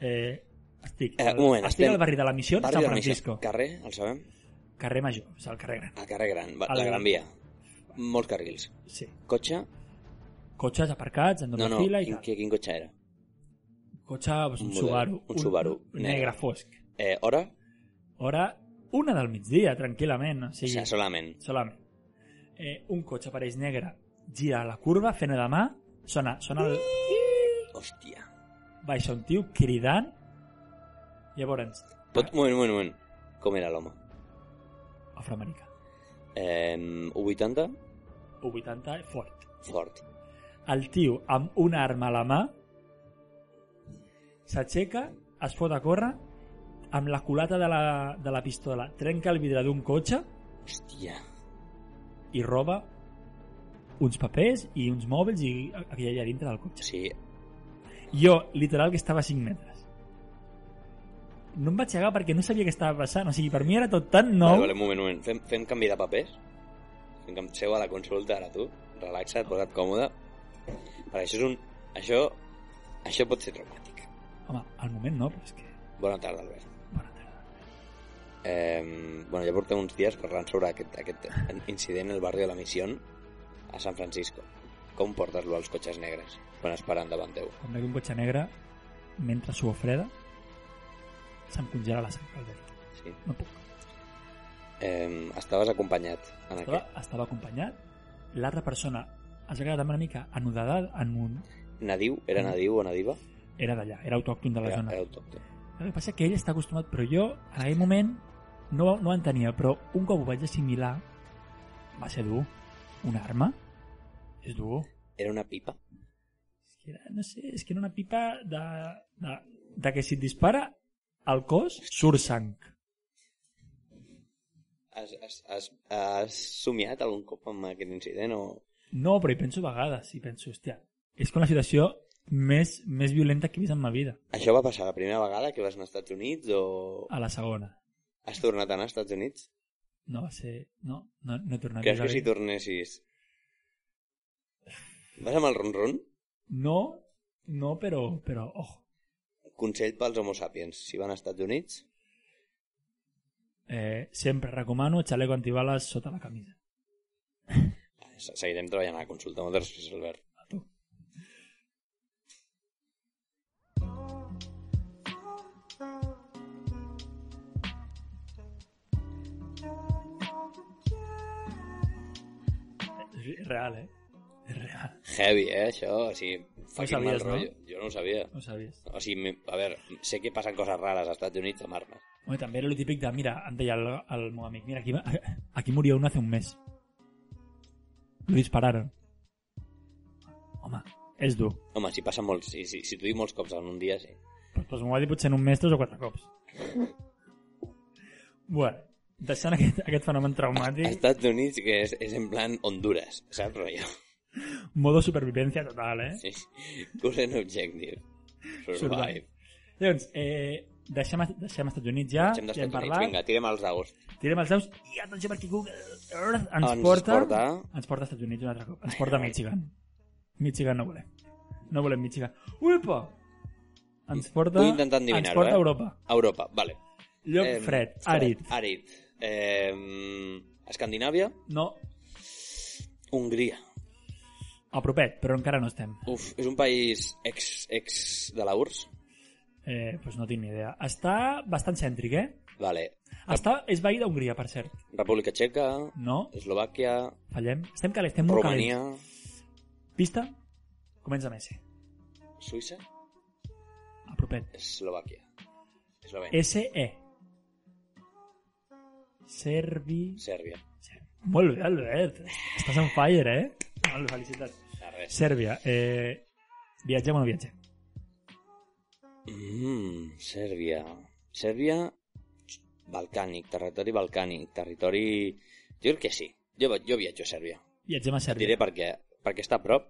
[SPEAKER 2] Eh, estic,
[SPEAKER 1] Eh, un moment,
[SPEAKER 2] estic
[SPEAKER 1] estem-
[SPEAKER 2] al barri de la Missió de
[SPEAKER 1] Barri
[SPEAKER 2] San
[SPEAKER 1] de la Missió.
[SPEAKER 2] Francisco.
[SPEAKER 1] Carrer, el sabem?
[SPEAKER 2] Carrer Major, o sigui, el carrer gran.
[SPEAKER 1] El carrer Gran, va,
[SPEAKER 2] El-
[SPEAKER 1] la Gran Via. Molts carrils.
[SPEAKER 2] Sí.
[SPEAKER 1] Cotxe?
[SPEAKER 2] Cotxes aparcats, en doble
[SPEAKER 1] No, no,
[SPEAKER 2] Doncs fila i
[SPEAKER 1] quin,
[SPEAKER 2] tal.
[SPEAKER 1] quin, quin cotxe era?
[SPEAKER 2] Cotxe, doncs, un,
[SPEAKER 1] Un model,
[SPEAKER 2] Subaru.
[SPEAKER 1] un Subaru
[SPEAKER 2] negre.
[SPEAKER 1] negre.
[SPEAKER 2] fosc.
[SPEAKER 1] Eh, hora?
[SPEAKER 2] Hora, una del migdia, tranquil·lament. O
[SPEAKER 1] Sí. O
[SPEAKER 2] sigui,
[SPEAKER 1] sigui, solament.
[SPEAKER 2] solament. Eh, un cotxe apareix negre, gira a la curva, fent de mà, sona, sona el...
[SPEAKER 1] Hòstia.
[SPEAKER 2] Baixa un tio cridant. Llavors,
[SPEAKER 1] Pot... Un moment, un moment, un moment. Com era l'home?
[SPEAKER 2] afroamericà.
[SPEAKER 1] Eh, 80?
[SPEAKER 2] o 80 fort.
[SPEAKER 1] Fort.
[SPEAKER 2] El tio, amb una arma a la mà, s'aixeca, es fot a córrer, amb la culata de la, de la pistola trenca el vidre d'un cotxe
[SPEAKER 1] Hòstia.
[SPEAKER 2] i roba uns papers i uns mòbils i aquella allà dintre del cotxe.
[SPEAKER 1] Sí,
[SPEAKER 2] Jo, literal, que estava a 5 metres. No em vaig llegar perquè no sabia què estava passant. O sigui, per mi era tot tan nou.
[SPEAKER 1] Vale, vale, un moment, un moment. Fem, fem canvi de papers? Fem canvi... Seu a la consulta ara, tu. Relaxa't, posa't còmode. Vale, això és un... Això... Això pot ser traumàtic.
[SPEAKER 2] Home, al moment no, però és que...
[SPEAKER 1] Bona tarda, Albert.
[SPEAKER 2] Bona tarda.
[SPEAKER 1] Eh, bueno, ja portem uns dies parlant sobre aquest, aquest incident al barri de la Misión, a San Francisco. Com portes-lo als cotxes negres quan es paren davant teu?
[SPEAKER 2] Quan veig un cotxe negre, mentre subo freda, se'm congela la sang al veure.
[SPEAKER 1] Sí.
[SPEAKER 2] No puc.
[SPEAKER 1] Eh, estaves acompanyat en
[SPEAKER 2] Estava,
[SPEAKER 1] aquest...
[SPEAKER 2] estava acompanyat. L'altra persona es va quedar també una mica anudada en un...
[SPEAKER 1] Nadiu? Era nadiu o nadiva?
[SPEAKER 2] Era d'allà, era autòcton de Mm. la
[SPEAKER 1] Era,
[SPEAKER 2] zona.
[SPEAKER 1] era autòcton.
[SPEAKER 2] El que passa és que ell està acostumat, però jo en aquell moment no, no en tenia, però un cop ho vaig assimilar va ser dur. Una arma? És dur.
[SPEAKER 1] Era una pipa?
[SPEAKER 2] És que era, no sé, és que era una pipa de, de, de que si et dispara al cos surt sang.
[SPEAKER 1] Has, has, has, has somiat algun cop amb aquest incident o...
[SPEAKER 2] No, però hi penso a vegades, i penso, hòstia, és com la situació més, més violenta que he vist en ma vida,
[SPEAKER 1] Això va passar la primera vegada que vas anar als Estats Units o
[SPEAKER 2] a la segona.
[SPEAKER 1] has tornat a anar als Estats Units?
[SPEAKER 2] No va ser... No, no, no he tornat
[SPEAKER 1] Creus
[SPEAKER 2] a
[SPEAKER 1] que si tornessis... Vas amb el ronron?
[SPEAKER 2] No, no, però, però, ojo,
[SPEAKER 1] Consell pels homo sapiens. Si van als Estats Units,
[SPEAKER 2] eh, sempre recomano xaleco antibales sota la camisa.
[SPEAKER 1] se- seguirem treballant a la consulta. Moltes gràcies, Albert.
[SPEAKER 2] A tu. És real, eh? És real.
[SPEAKER 1] Heavy, eh, això? O sigui, fucking mal
[SPEAKER 2] sabies, no?
[SPEAKER 1] rotllo. Jo no ho sabia.
[SPEAKER 2] No ho sabies.
[SPEAKER 1] O sigui, me- a veure, sé que passen coses rares als Estats Units amb armes.
[SPEAKER 2] Bueno, també era lo típic de, mira, em deia el, el meu amic, mira, aquí, aquí murió un hace un mes. Lo dispararon. Home, és dur. Pues,
[SPEAKER 1] Home, si passa molts... Si, si, si t'ho dic molts cops en un dia, sí.
[SPEAKER 2] Però doncs m'ho va dir potser en un mes tres o quatre cops. bueno, deixant aquest, aquest fenomen
[SPEAKER 1] Als
[SPEAKER 2] traumàtic,
[SPEAKER 1] Estats Units, que és, és en plan Honduras, saps, rotllo?
[SPEAKER 2] modo supervivència total, eh?
[SPEAKER 1] Sí. Current objective. Survive.
[SPEAKER 2] Survive. Llavors, eh, deixem, deixem Estats Units ja,
[SPEAKER 1] Marxem dels
[SPEAKER 2] ja
[SPEAKER 1] Estats
[SPEAKER 2] hem
[SPEAKER 1] Units.
[SPEAKER 2] parlat,
[SPEAKER 1] Vinga, tirem els daus.
[SPEAKER 2] tirem els daus i atenció perquè Google Earth ens,
[SPEAKER 1] Ens
[SPEAKER 2] porta,
[SPEAKER 1] porta-
[SPEAKER 2] ens porta als Estats Units un altre cop. Ens porta a Michigan. Michigan no volem. No volem Michigan. Uipa! Ens porta,
[SPEAKER 1] Vull intentar
[SPEAKER 2] ens
[SPEAKER 1] endevinar-ho,
[SPEAKER 2] porta
[SPEAKER 1] eh?
[SPEAKER 2] a Europa.
[SPEAKER 1] Europa, vale.
[SPEAKER 2] Lloc
[SPEAKER 1] Em,
[SPEAKER 2] fred, àrid.
[SPEAKER 1] Àrid. Eh, Escandinàvia,
[SPEAKER 2] No,
[SPEAKER 1] Hongria.
[SPEAKER 2] apropet, però encara no estem.
[SPEAKER 1] Uf, és un país ex, ex de la URSS.
[SPEAKER 2] Eh, pues no tinc ni idea. Està bastant cèntric, eh?
[SPEAKER 1] Vale.
[SPEAKER 2] Està, és veí d'Hongria, per cert.
[SPEAKER 1] República Txeca,
[SPEAKER 2] No?
[SPEAKER 1] Eslovàquia,
[SPEAKER 2] Fallem? Estem calents, estem molt
[SPEAKER 1] Romania,
[SPEAKER 2] calents. Pista? Comença Messi.
[SPEAKER 1] Suïssa,
[SPEAKER 2] Apropet.
[SPEAKER 1] Eslovàquia. Eslovènia,
[SPEAKER 2] S-E. Servi...
[SPEAKER 1] Sèrbia.
[SPEAKER 2] Ser- Molt bé, Albert. Estàs on fire, eh? Molt bé, felicitats.
[SPEAKER 1] La res.
[SPEAKER 2] Sèrbia. Eh, viatgem o no viatgem?
[SPEAKER 1] Mm, Sèrbia. Sèrbia, balcànic, territori balcànic, territori... Jo crec que sí. Jo, va- jo viatjo a Sèrbia.
[SPEAKER 2] Viatgem a
[SPEAKER 1] Et diré
[SPEAKER 2] Sèrbia.
[SPEAKER 1] per què. Perquè està a prop,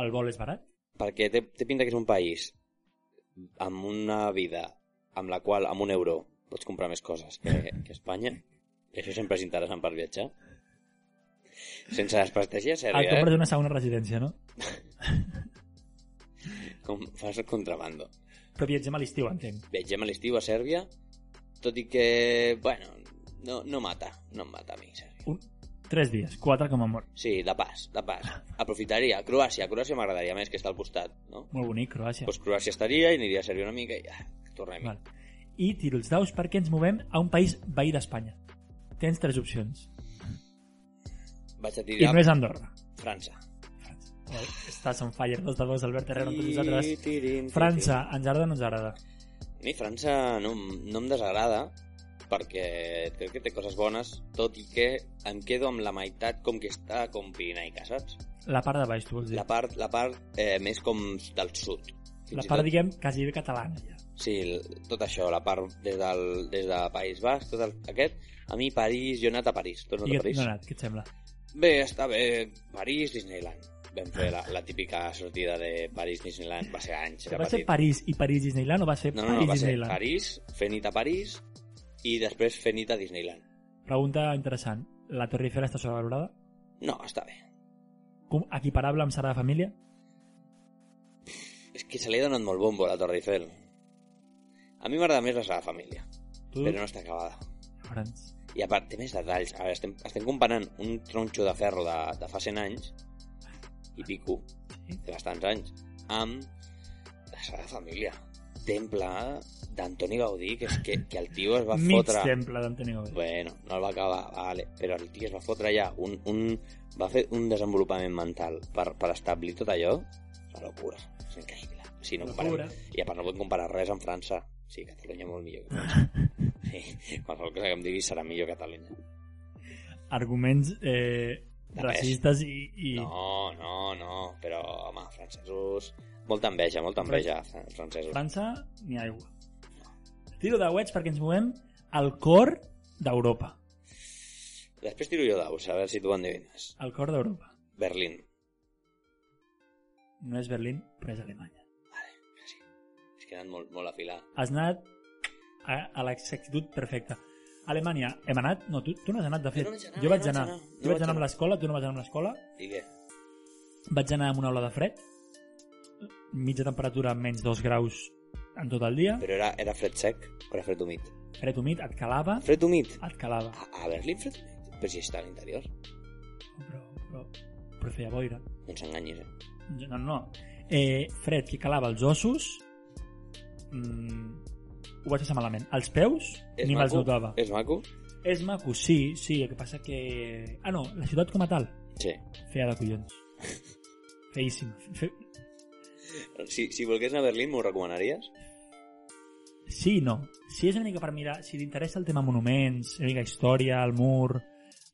[SPEAKER 2] El vol és barat?
[SPEAKER 1] perquè té, té pinta que és un país amb una vida amb la qual, amb un euro, pots comprar més coses que, que Espanya. I això sempre és interessant per viatjar. Sense desprestigiar
[SPEAKER 2] Al
[SPEAKER 1] Sèrbia,
[SPEAKER 2] compra
[SPEAKER 1] eh?
[SPEAKER 2] d'una segona residència, no?
[SPEAKER 1] Com fas el contrabando.
[SPEAKER 2] Però viatgem a l'estiu, entenc.
[SPEAKER 1] viatgem a l'estiu a Sèrbia, tot i que, bueno, no, no mata, no em mata a mi, Sèrbia.
[SPEAKER 2] Un, tres dies, quatre com a mort.
[SPEAKER 1] Sí, de pas, de pas. Aprofitaria. Croàcia, Croàcia m'agradaria més, que està al costat, no?
[SPEAKER 2] Molt bonic, Croàcia.
[SPEAKER 1] Doncs pues Croàcia estaria i aniria a Sèrbia una mica i ja, tornem.
[SPEAKER 2] Val. I tiro els daus perquè ens movem a un país veí d'Espanya. Tens tres opcions.
[SPEAKER 1] Vaig a
[SPEAKER 2] I
[SPEAKER 1] tirar
[SPEAKER 2] no és Andorra.
[SPEAKER 1] França.
[SPEAKER 2] Oh, Estàs on fire, dos de dos, Albert Herrera, amb tots nosaltres.
[SPEAKER 1] Tirin, tirin,
[SPEAKER 2] França, ens agrada o no ens agrada?
[SPEAKER 1] tirin. A mi França no, em- no em desagrada, perquè crec que té coses bones, tot i que em quedo amb la meitat com que està com Pirinaica, saps?
[SPEAKER 2] La part de baix, tu vols dir.
[SPEAKER 1] La
[SPEAKER 2] La,
[SPEAKER 1] part, la part eh, més com del sud. Fins i
[SPEAKER 2] part,
[SPEAKER 1] tot,
[SPEAKER 2] diguem, quasi bé catalana, ja.
[SPEAKER 1] Sí, l- tot això, la part des del, des de País Basc, tot el, aquest. A mi París, jo he anat a París, tu has
[SPEAKER 2] I
[SPEAKER 1] anat a
[SPEAKER 2] què
[SPEAKER 1] París?
[SPEAKER 2] t'ha anat? Què et sembla?
[SPEAKER 1] Bé, està bé. París, Disneyland. Vam fer la, la típica sortida de París, Disneyland. Va ser anys. era
[SPEAKER 2] va ser
[SPEAKER 1] petit.
[SPEAKER 2] París i París Disneyland o va ser
[SPEAKER 1] No, no,
[SPEAKER 2] París
[SPEAKER 1] no, va ser
[SPEAKER 2] Disneyland?
[SPEAKER 1] París, fer nit a París i després fer nit a Disneyland.
[SPEAKER 2] Pregunta interessant. La Torre Eiffel està sobrevalorada?
[SPEAKER 1] No, està bé.
[SPEAKER 2] Com, equiparable amb Sagrada Família?
[SPEAKER 1] És que se li ha donat molt bombo a la Torre Eiffel. A mi m'agrada més la Sagrada Família,
[SPEAKER 2] Tu,
[SPEAKER 1] però no està acabada.
[SPEAKER 2] Llorenç.
[SPEAKER 1] I a part, té més detalls. A veure, estem, estem comparant un tronxo de ferro de, de fa 100 anys i pico,
[SPEAKER 2] Sí.
[SPEAKER 1] de bastants anys, amb la Sagrada Família. Temple d'Antoni Gaudí, que, és que, que el tio es va
[SPEAKER 2] Mig
[SPEAKER 1] fotre...
[SPEAKER 2] temple d'Antoni Gaudí.
[SPEAKER 1] Bueno, no el va acabar, vale. però el tio es va fotre ja un, un... va fer un desenvolupament mental per, per establir tot allò. És una locura, és increïble. Si no comparem-
[SPEAKER 2] Locura.
[SPEAKER 1] I a part no podem comparar res amb França. Sí, Catalunya molt millor que França. Sí, qualsevol cosa que em diguis serà millor que Catalunya.
[SPEAKER 2] Arguments eh,
[SPEAKER 1] De res.
[SPEAKER 2] racistes i... i...
[SPEAKER 1] No, no, no, però home, francesos... Molta enveja, molta enveja, fran- francesos.
[SPEAKER 2] França, ni aigua. Tiro de webs perquè ens movem al cor d'Europa.
[SPEAKER 1] Després tiro jo daus, a veure si tu ho endevines.
[SPEAKER 2] Al cor d'Europa.
[SPEAKER 1] Berlín.
[SPEAKER 2] No és Berlín, però és Alemanya.
[SPEAKER 1] És que he anat molt, molt a filar.
[SPEAKER 2] Has anat a, a l'exactitud perfecta. Alemanya, hem anat? No, tu, tu no has anat, de fet.
[SPEAKER 1] Jo no vaig anar,
[SPEAKER 2] jo vaig
[SPEAKER 1] no vaig
[SPEAKER 2] anar.
[SPEAKER 1] anar, no
[SPEAKER 2] Jo
[SPEAKER 1] vaig
[SPEAKER 2] vaig anar
[SPEAKER 1] anar.
[SPEAKER 2] amb l'escola, tu no vas anar amb l'escola.
[SPEAKER 1] I què?
[SPEAKER 2] Vaig anar amb una ola de fred, mitja temperatura menys 2 graus en tot el dia,
[SPEAKER 1] Però era, era fred sec o era fred humit?
[SPEAKER 2] fred humit, et calava,
[SPEAKER 1] Fred humit?
[SPEAKER 2] et calava.
[SPEAKER 1] A, a Berlín fred humit? Però si està a l'interior.
[SPEAKER 2] Però, però, però feia boira.
[SPEAKER 1] No ens enganyis, eh?
[SPEAKER 2] Jo- No, no. Eh, fred que calava els ossos, mm, ho vaig passar malament. Els peus,
[SPEAKER 1] És
[SPEAKER 2] ni
[SPEAKER 1] maco?
[SPEAKER 2] me'ls
[SPEAKER 1] Eh.
[SPEAKER 2] notava.
[SPEAKER 1] És maco?
[SPEAKER 2] És maco, sí, sí, el que passa que... Ah, no, la ciutat com a tal,
[SPEAKER 1] Sí.
[SPEAKER 2] feia de collons. Feíssima. Fe...
[SPEAKER 1] Si, si volgués anar a Berlín, m'ho recomanaries?
[SPEAKER 2] Sí i no. Si és una mica per mirar, si t'interessa el tema monuments, una mica història, el mur,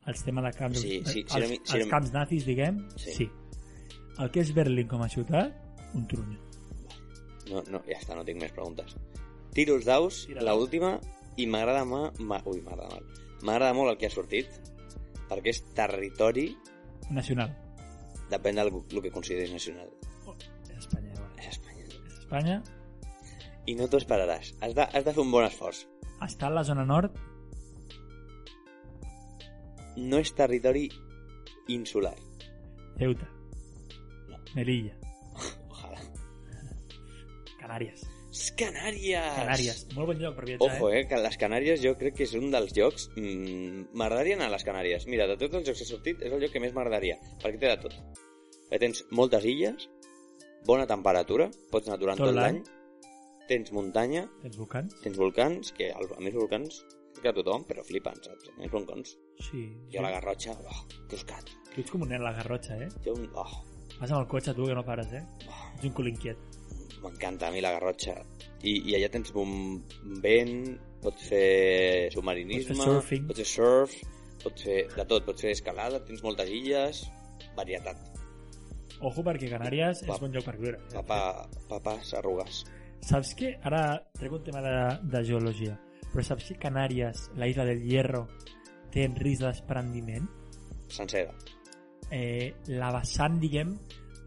[SPEAKER 2] els temes de camps,
[SPEAKER 1] Sí, sí,
[SPEAKER 2] els,
[SPEAKER 1] si era mi- si
[SPEAKER 2] els
[SPEAKER 1] era-
[SPEAKER 2] camps nazis, diguem,
[SPEAKER 1] Sí.
[SPEAKER 2] sí. sí. El que és Berlín com a ciutat, un trunyo.
[SPEAKER 1] No, no, ja està, no tinc més preguntes. Tiro els daus,
[SPEAKER 2] Tira
[SPEAKER 1] la
[SPEAKER 2] daus.
[SPEAKER 1] última, i m'agrada ma... ma... Ui, m'agrada molt. M'agrada molt el que ha sortit, perquè és territori,
[SPEAKER 2] Nacional. Oh,
[SPEAKER 1] depèn del el que consideris nacional.
[SPEAKER 2] És Espanya, vale.
[SPEAKER 1] És Espanya.
[SPEAKER 2] És Espanya.
[SPEAKER 1] I no t'ho esperaràs. Has de, has de fer un bon esforç.
[SPEAKER 2] Està a la zona nord,
[SPEAKER 1] No és territori insular.
[SPEAKER 2] Ceuta.
[SPEAKER 1] No.
[SPEAKER 2] Melilla.
[SPEAKER 1] Ojalà.
[SPEAKER 2] Canàries.
[SPEAKER 1] És Canàries!
[SPEAKER 2] Canàries. Molt bon lloc per viatjar,
[SPEAKER 1] Ah, Ojo,
[SPEAKER 2] eh?
[SPEAKER 1] eh, que les Canàries jo crec que és un dels llocs... mm, M'agradaria anar a les Canàries. Mira, de tots els llocs que he sortit, és el lloc que més m'agradaria, perquè té de tot. Perquè tens moltes illes, bona temperatura, pots anar durant
[SPEAKER 2] Tot
[SPEAKER 1] tot, l'any,
[SPEAKER 2] l'any.
[SPEAKER 1] tens muntanya,
[SPEAKER 2] Tens volcans?
[SPEAKER 1] tens volcans, que el- a mi els volcans crec que a tothom, però flipen, saps? A mi els volcans.
[SPEAKER 2] Sí.
[SPEAKER 1] Jo a la Garrotxa, oh, buscat.
[SPEAKER 2] Tu ets com un nen a la Garrotxa, eh?
[SPEAKER 1] Jo, un- oh,
[SPEAKER 2] Vas amb el cotxe tu, que no pares, eh?
[SPEAKER 1] oh,
[SPEAKER 2] Ets un cul inquiet.
[SPEAKER 1] m'encanta a mi la Garrotxa. I, I allà tens un vent, pots fer submarinisme,
[SPEAKER 2] Pots fer surfing.
[SPEAKER 1] pots fer surf, pots fer de tot, pots fer escalada, tens moltes illes, varietat.
[SPEAKER 2] Ojo, perquè Canàries
[SPEAKER 1] Va.
[SPEAKER 2] és bon lloc per viure. eh?
[SPEAKER 1] Papa, papas, arrugues.
[SPEAKER 2] Saps que, ara trec un tema de, de geologia, però saps que Canàries, la isla del Hierro, té en risc d'esprendiment?
[SPEAKER 1] Sencera.
[SPEAKER 2] Eh, la vessant, diguem,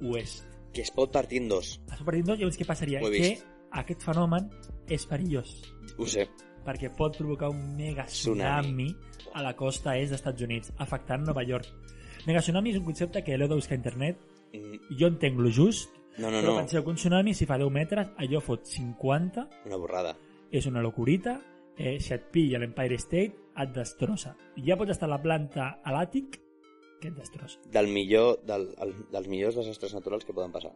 [SPEAKER 2] oest.
[SPEAKER 1] Que es pot partir en dos.
[SPEAKER 2] Es pot partir en dos, llavors què passaria?
[SPEAKER 1] Ho he
[SPEAKER 2] Que
[SPEAKER 1] vist.
[SPEAKER 2] aquest fenomen és perillós,
[SPEAKER 1] Ho sé.
[SPEAKER 2] perquè pot provocar un mega
[SPEAKER 1] Tsunami.
[SPEAKER 2] tsunami a la costa est dels Estats Units, afectant Nova York. Mega tsunami és un concepte que l'heu de buscar a internet,
[SPEAKER 1] Mm,
[SPEAKER 2] jo entenc-lo just,
[SPEAKER 1] No, no,
[SPEAKER 2] però
[SPEAKER 1] no.
[SPEAKER 2] penseu que un tsunami, si fa 10 metres, allò fot 50,
[SPEAKER 1] Una borrada.
[SPEAKER 2] és una locurita, eh, si et pilla l'Empire State, et destrossa. Ja pots estar a la planta a l'àtic, que et destrossa.
[SPEAKER 1] Del millor, del, el, dels millors desastres naturals que poden passar.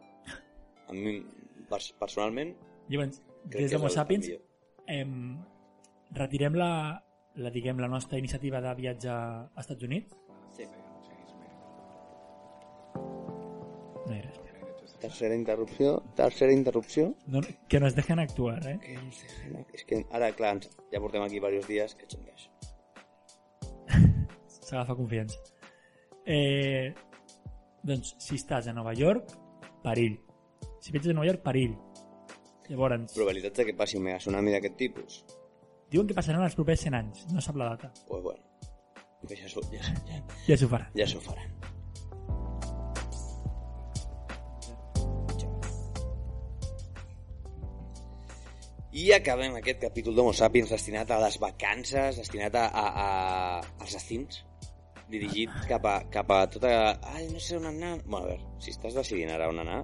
[SPEAKER 1] A mi, pers personalment,
[SPEAKER 2] Llavors,
[SPEAKER 1] crec que
[SPEAKER 2] des
[SPEAKER 1] és
[SPEAKER 2] d'Homo
[SPEAKER 1] el- el
[SPEAKER 2] Sapiens,
[SPEAKER 1] millor.
[SPEAKER 2] em, retirem la, la, diguem, la nostra iniciativa de viatge a Estats Units.
[SPEAKER 1] Sí.
[SPEAKER 2] No hi ha res. més.
[SPEAKER 1] Tercera interrupció, tercera interrupció.
[SPEAKER 2] No, que nos dejen actuar, eh?
[SPEAKER 1] Que ens dejen... És que ara, clar, ens- ja portem aquí diversos dies que xingues.
[SPEAKER 2] S'agafa confiança. Eh, doncs, si estàs a Nova York, perill. Si viatges a Nova York, perill. Llavors,
[SPEAKER 1] Probabilitats de que passi un mega tsunami d'aquest tipus?
[SPEAKER 2] diuen que passaran els propers 100 anys, no sap la data.
[SPEAKER 1] Doncs pues bueno, que ja s'ho ja, ja,
[SPEAKER 2] Ja s'ho faran.
[SPEAKER 1] ja s'ho faran. I acabem aquest capítol d'Homo Sapiens destinat a les vacances, destinat a, a, a als destins, dirigit cap a, cap a tota... Ai, no sé on anar... Bueno, a veure, si estàs decidint ara on anar,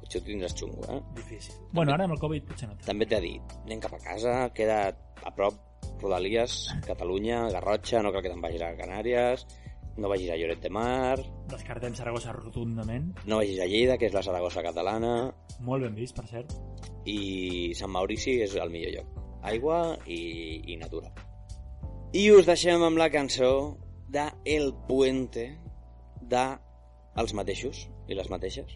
[SPEAKER 1] potser ho tindràs xungo, eh?
[SPEAKER 2] Difícil. Bueno, ara amb el Covid potser no. tant.
[SPEAKER 1] També t'ha dit, anem cap a casa, queda a prop Rodalies, Catalunya, Garrotxa, no cal que te'n vagis a Canàries, no vagis a Lloret de Mar,
[SPEAKER 2] Descartem Saragossa rotundament.
[SPEAKER 1] no vagis a Lleida, que és la Saragossa catalana,
[SPEAKER 2] Molt ben vist, per cert.
[SPEAKER 1] i Sant Maurici és el millor lloc. Aigua i, i natura. I us deixem amb la cançó de El Puente de els mateixos i les mateixes,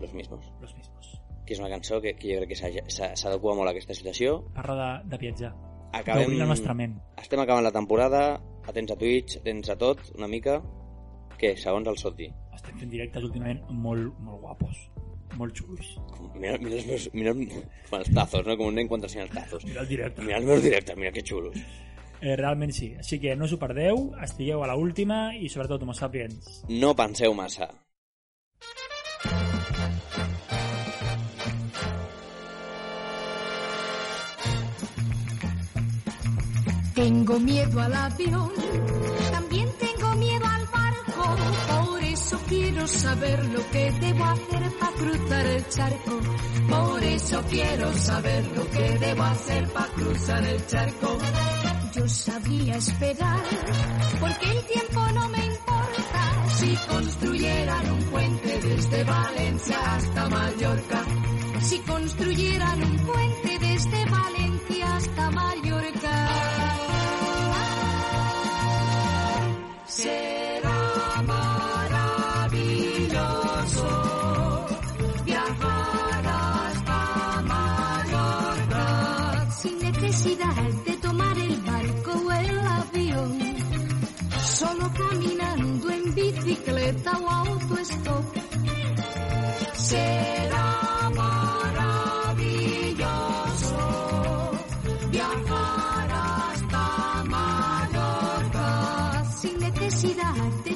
[SPEAKER 1] los mismos,
[SPEAKER 2] Los mismos.
[SPEAKER 1] que és una cançó que, que jo crec que s'ha- s'ha- s'adequa molt a aquesta situació.
[SPEAKER 2] Parla de, de viatjar.
[SPEAKER 1] Acabem...
[SPEAKER 2] D'obrir la nostra ment.
[SPEAKER 1] Estem acabant la temporada, atents a Twitch, atents a tot, una mica, que segons el Soti.
[SPEAKER 2] Estem fent directes últimament molt, molt guapos. Molt xulos.
[SPEAKER 1] Com- Mira, mira, els meus, mira el- com els tazos, no? Com un nen quan t'ensenyen els tazos.
[SPEAKER 2] Mira el directe.
[SPEAKER 1] Mira els meus directes, mira que xulos.
[SPEAKER 2] Eh, realment sí. Així que no us ho perdeu, estigueu a la última i sobretot Homo Sapiens.
[SPEAKER 1] No penseu massa.
[SPEAKER 4] Tengo miedo al avión, también tengo miedo al barco, por eso quiero saber lo que debo hacer para cruzar el charco. Por eso quiero saber lo que debo hacer para cruzar el charco. Yo sabría esperar, porque el tiempo no me importa, si construyeran un puente desde Valencia hasta Mallorca. Si construyeran un puente desde Valencia hasta Mallorca. Será maravilloso viajar hasta Mallorca sin necesidad de tomar el barco o el avión, solo caminando en bicicleta o autostop. Será maravilloso viajar hasta Mallorca sin necesidad de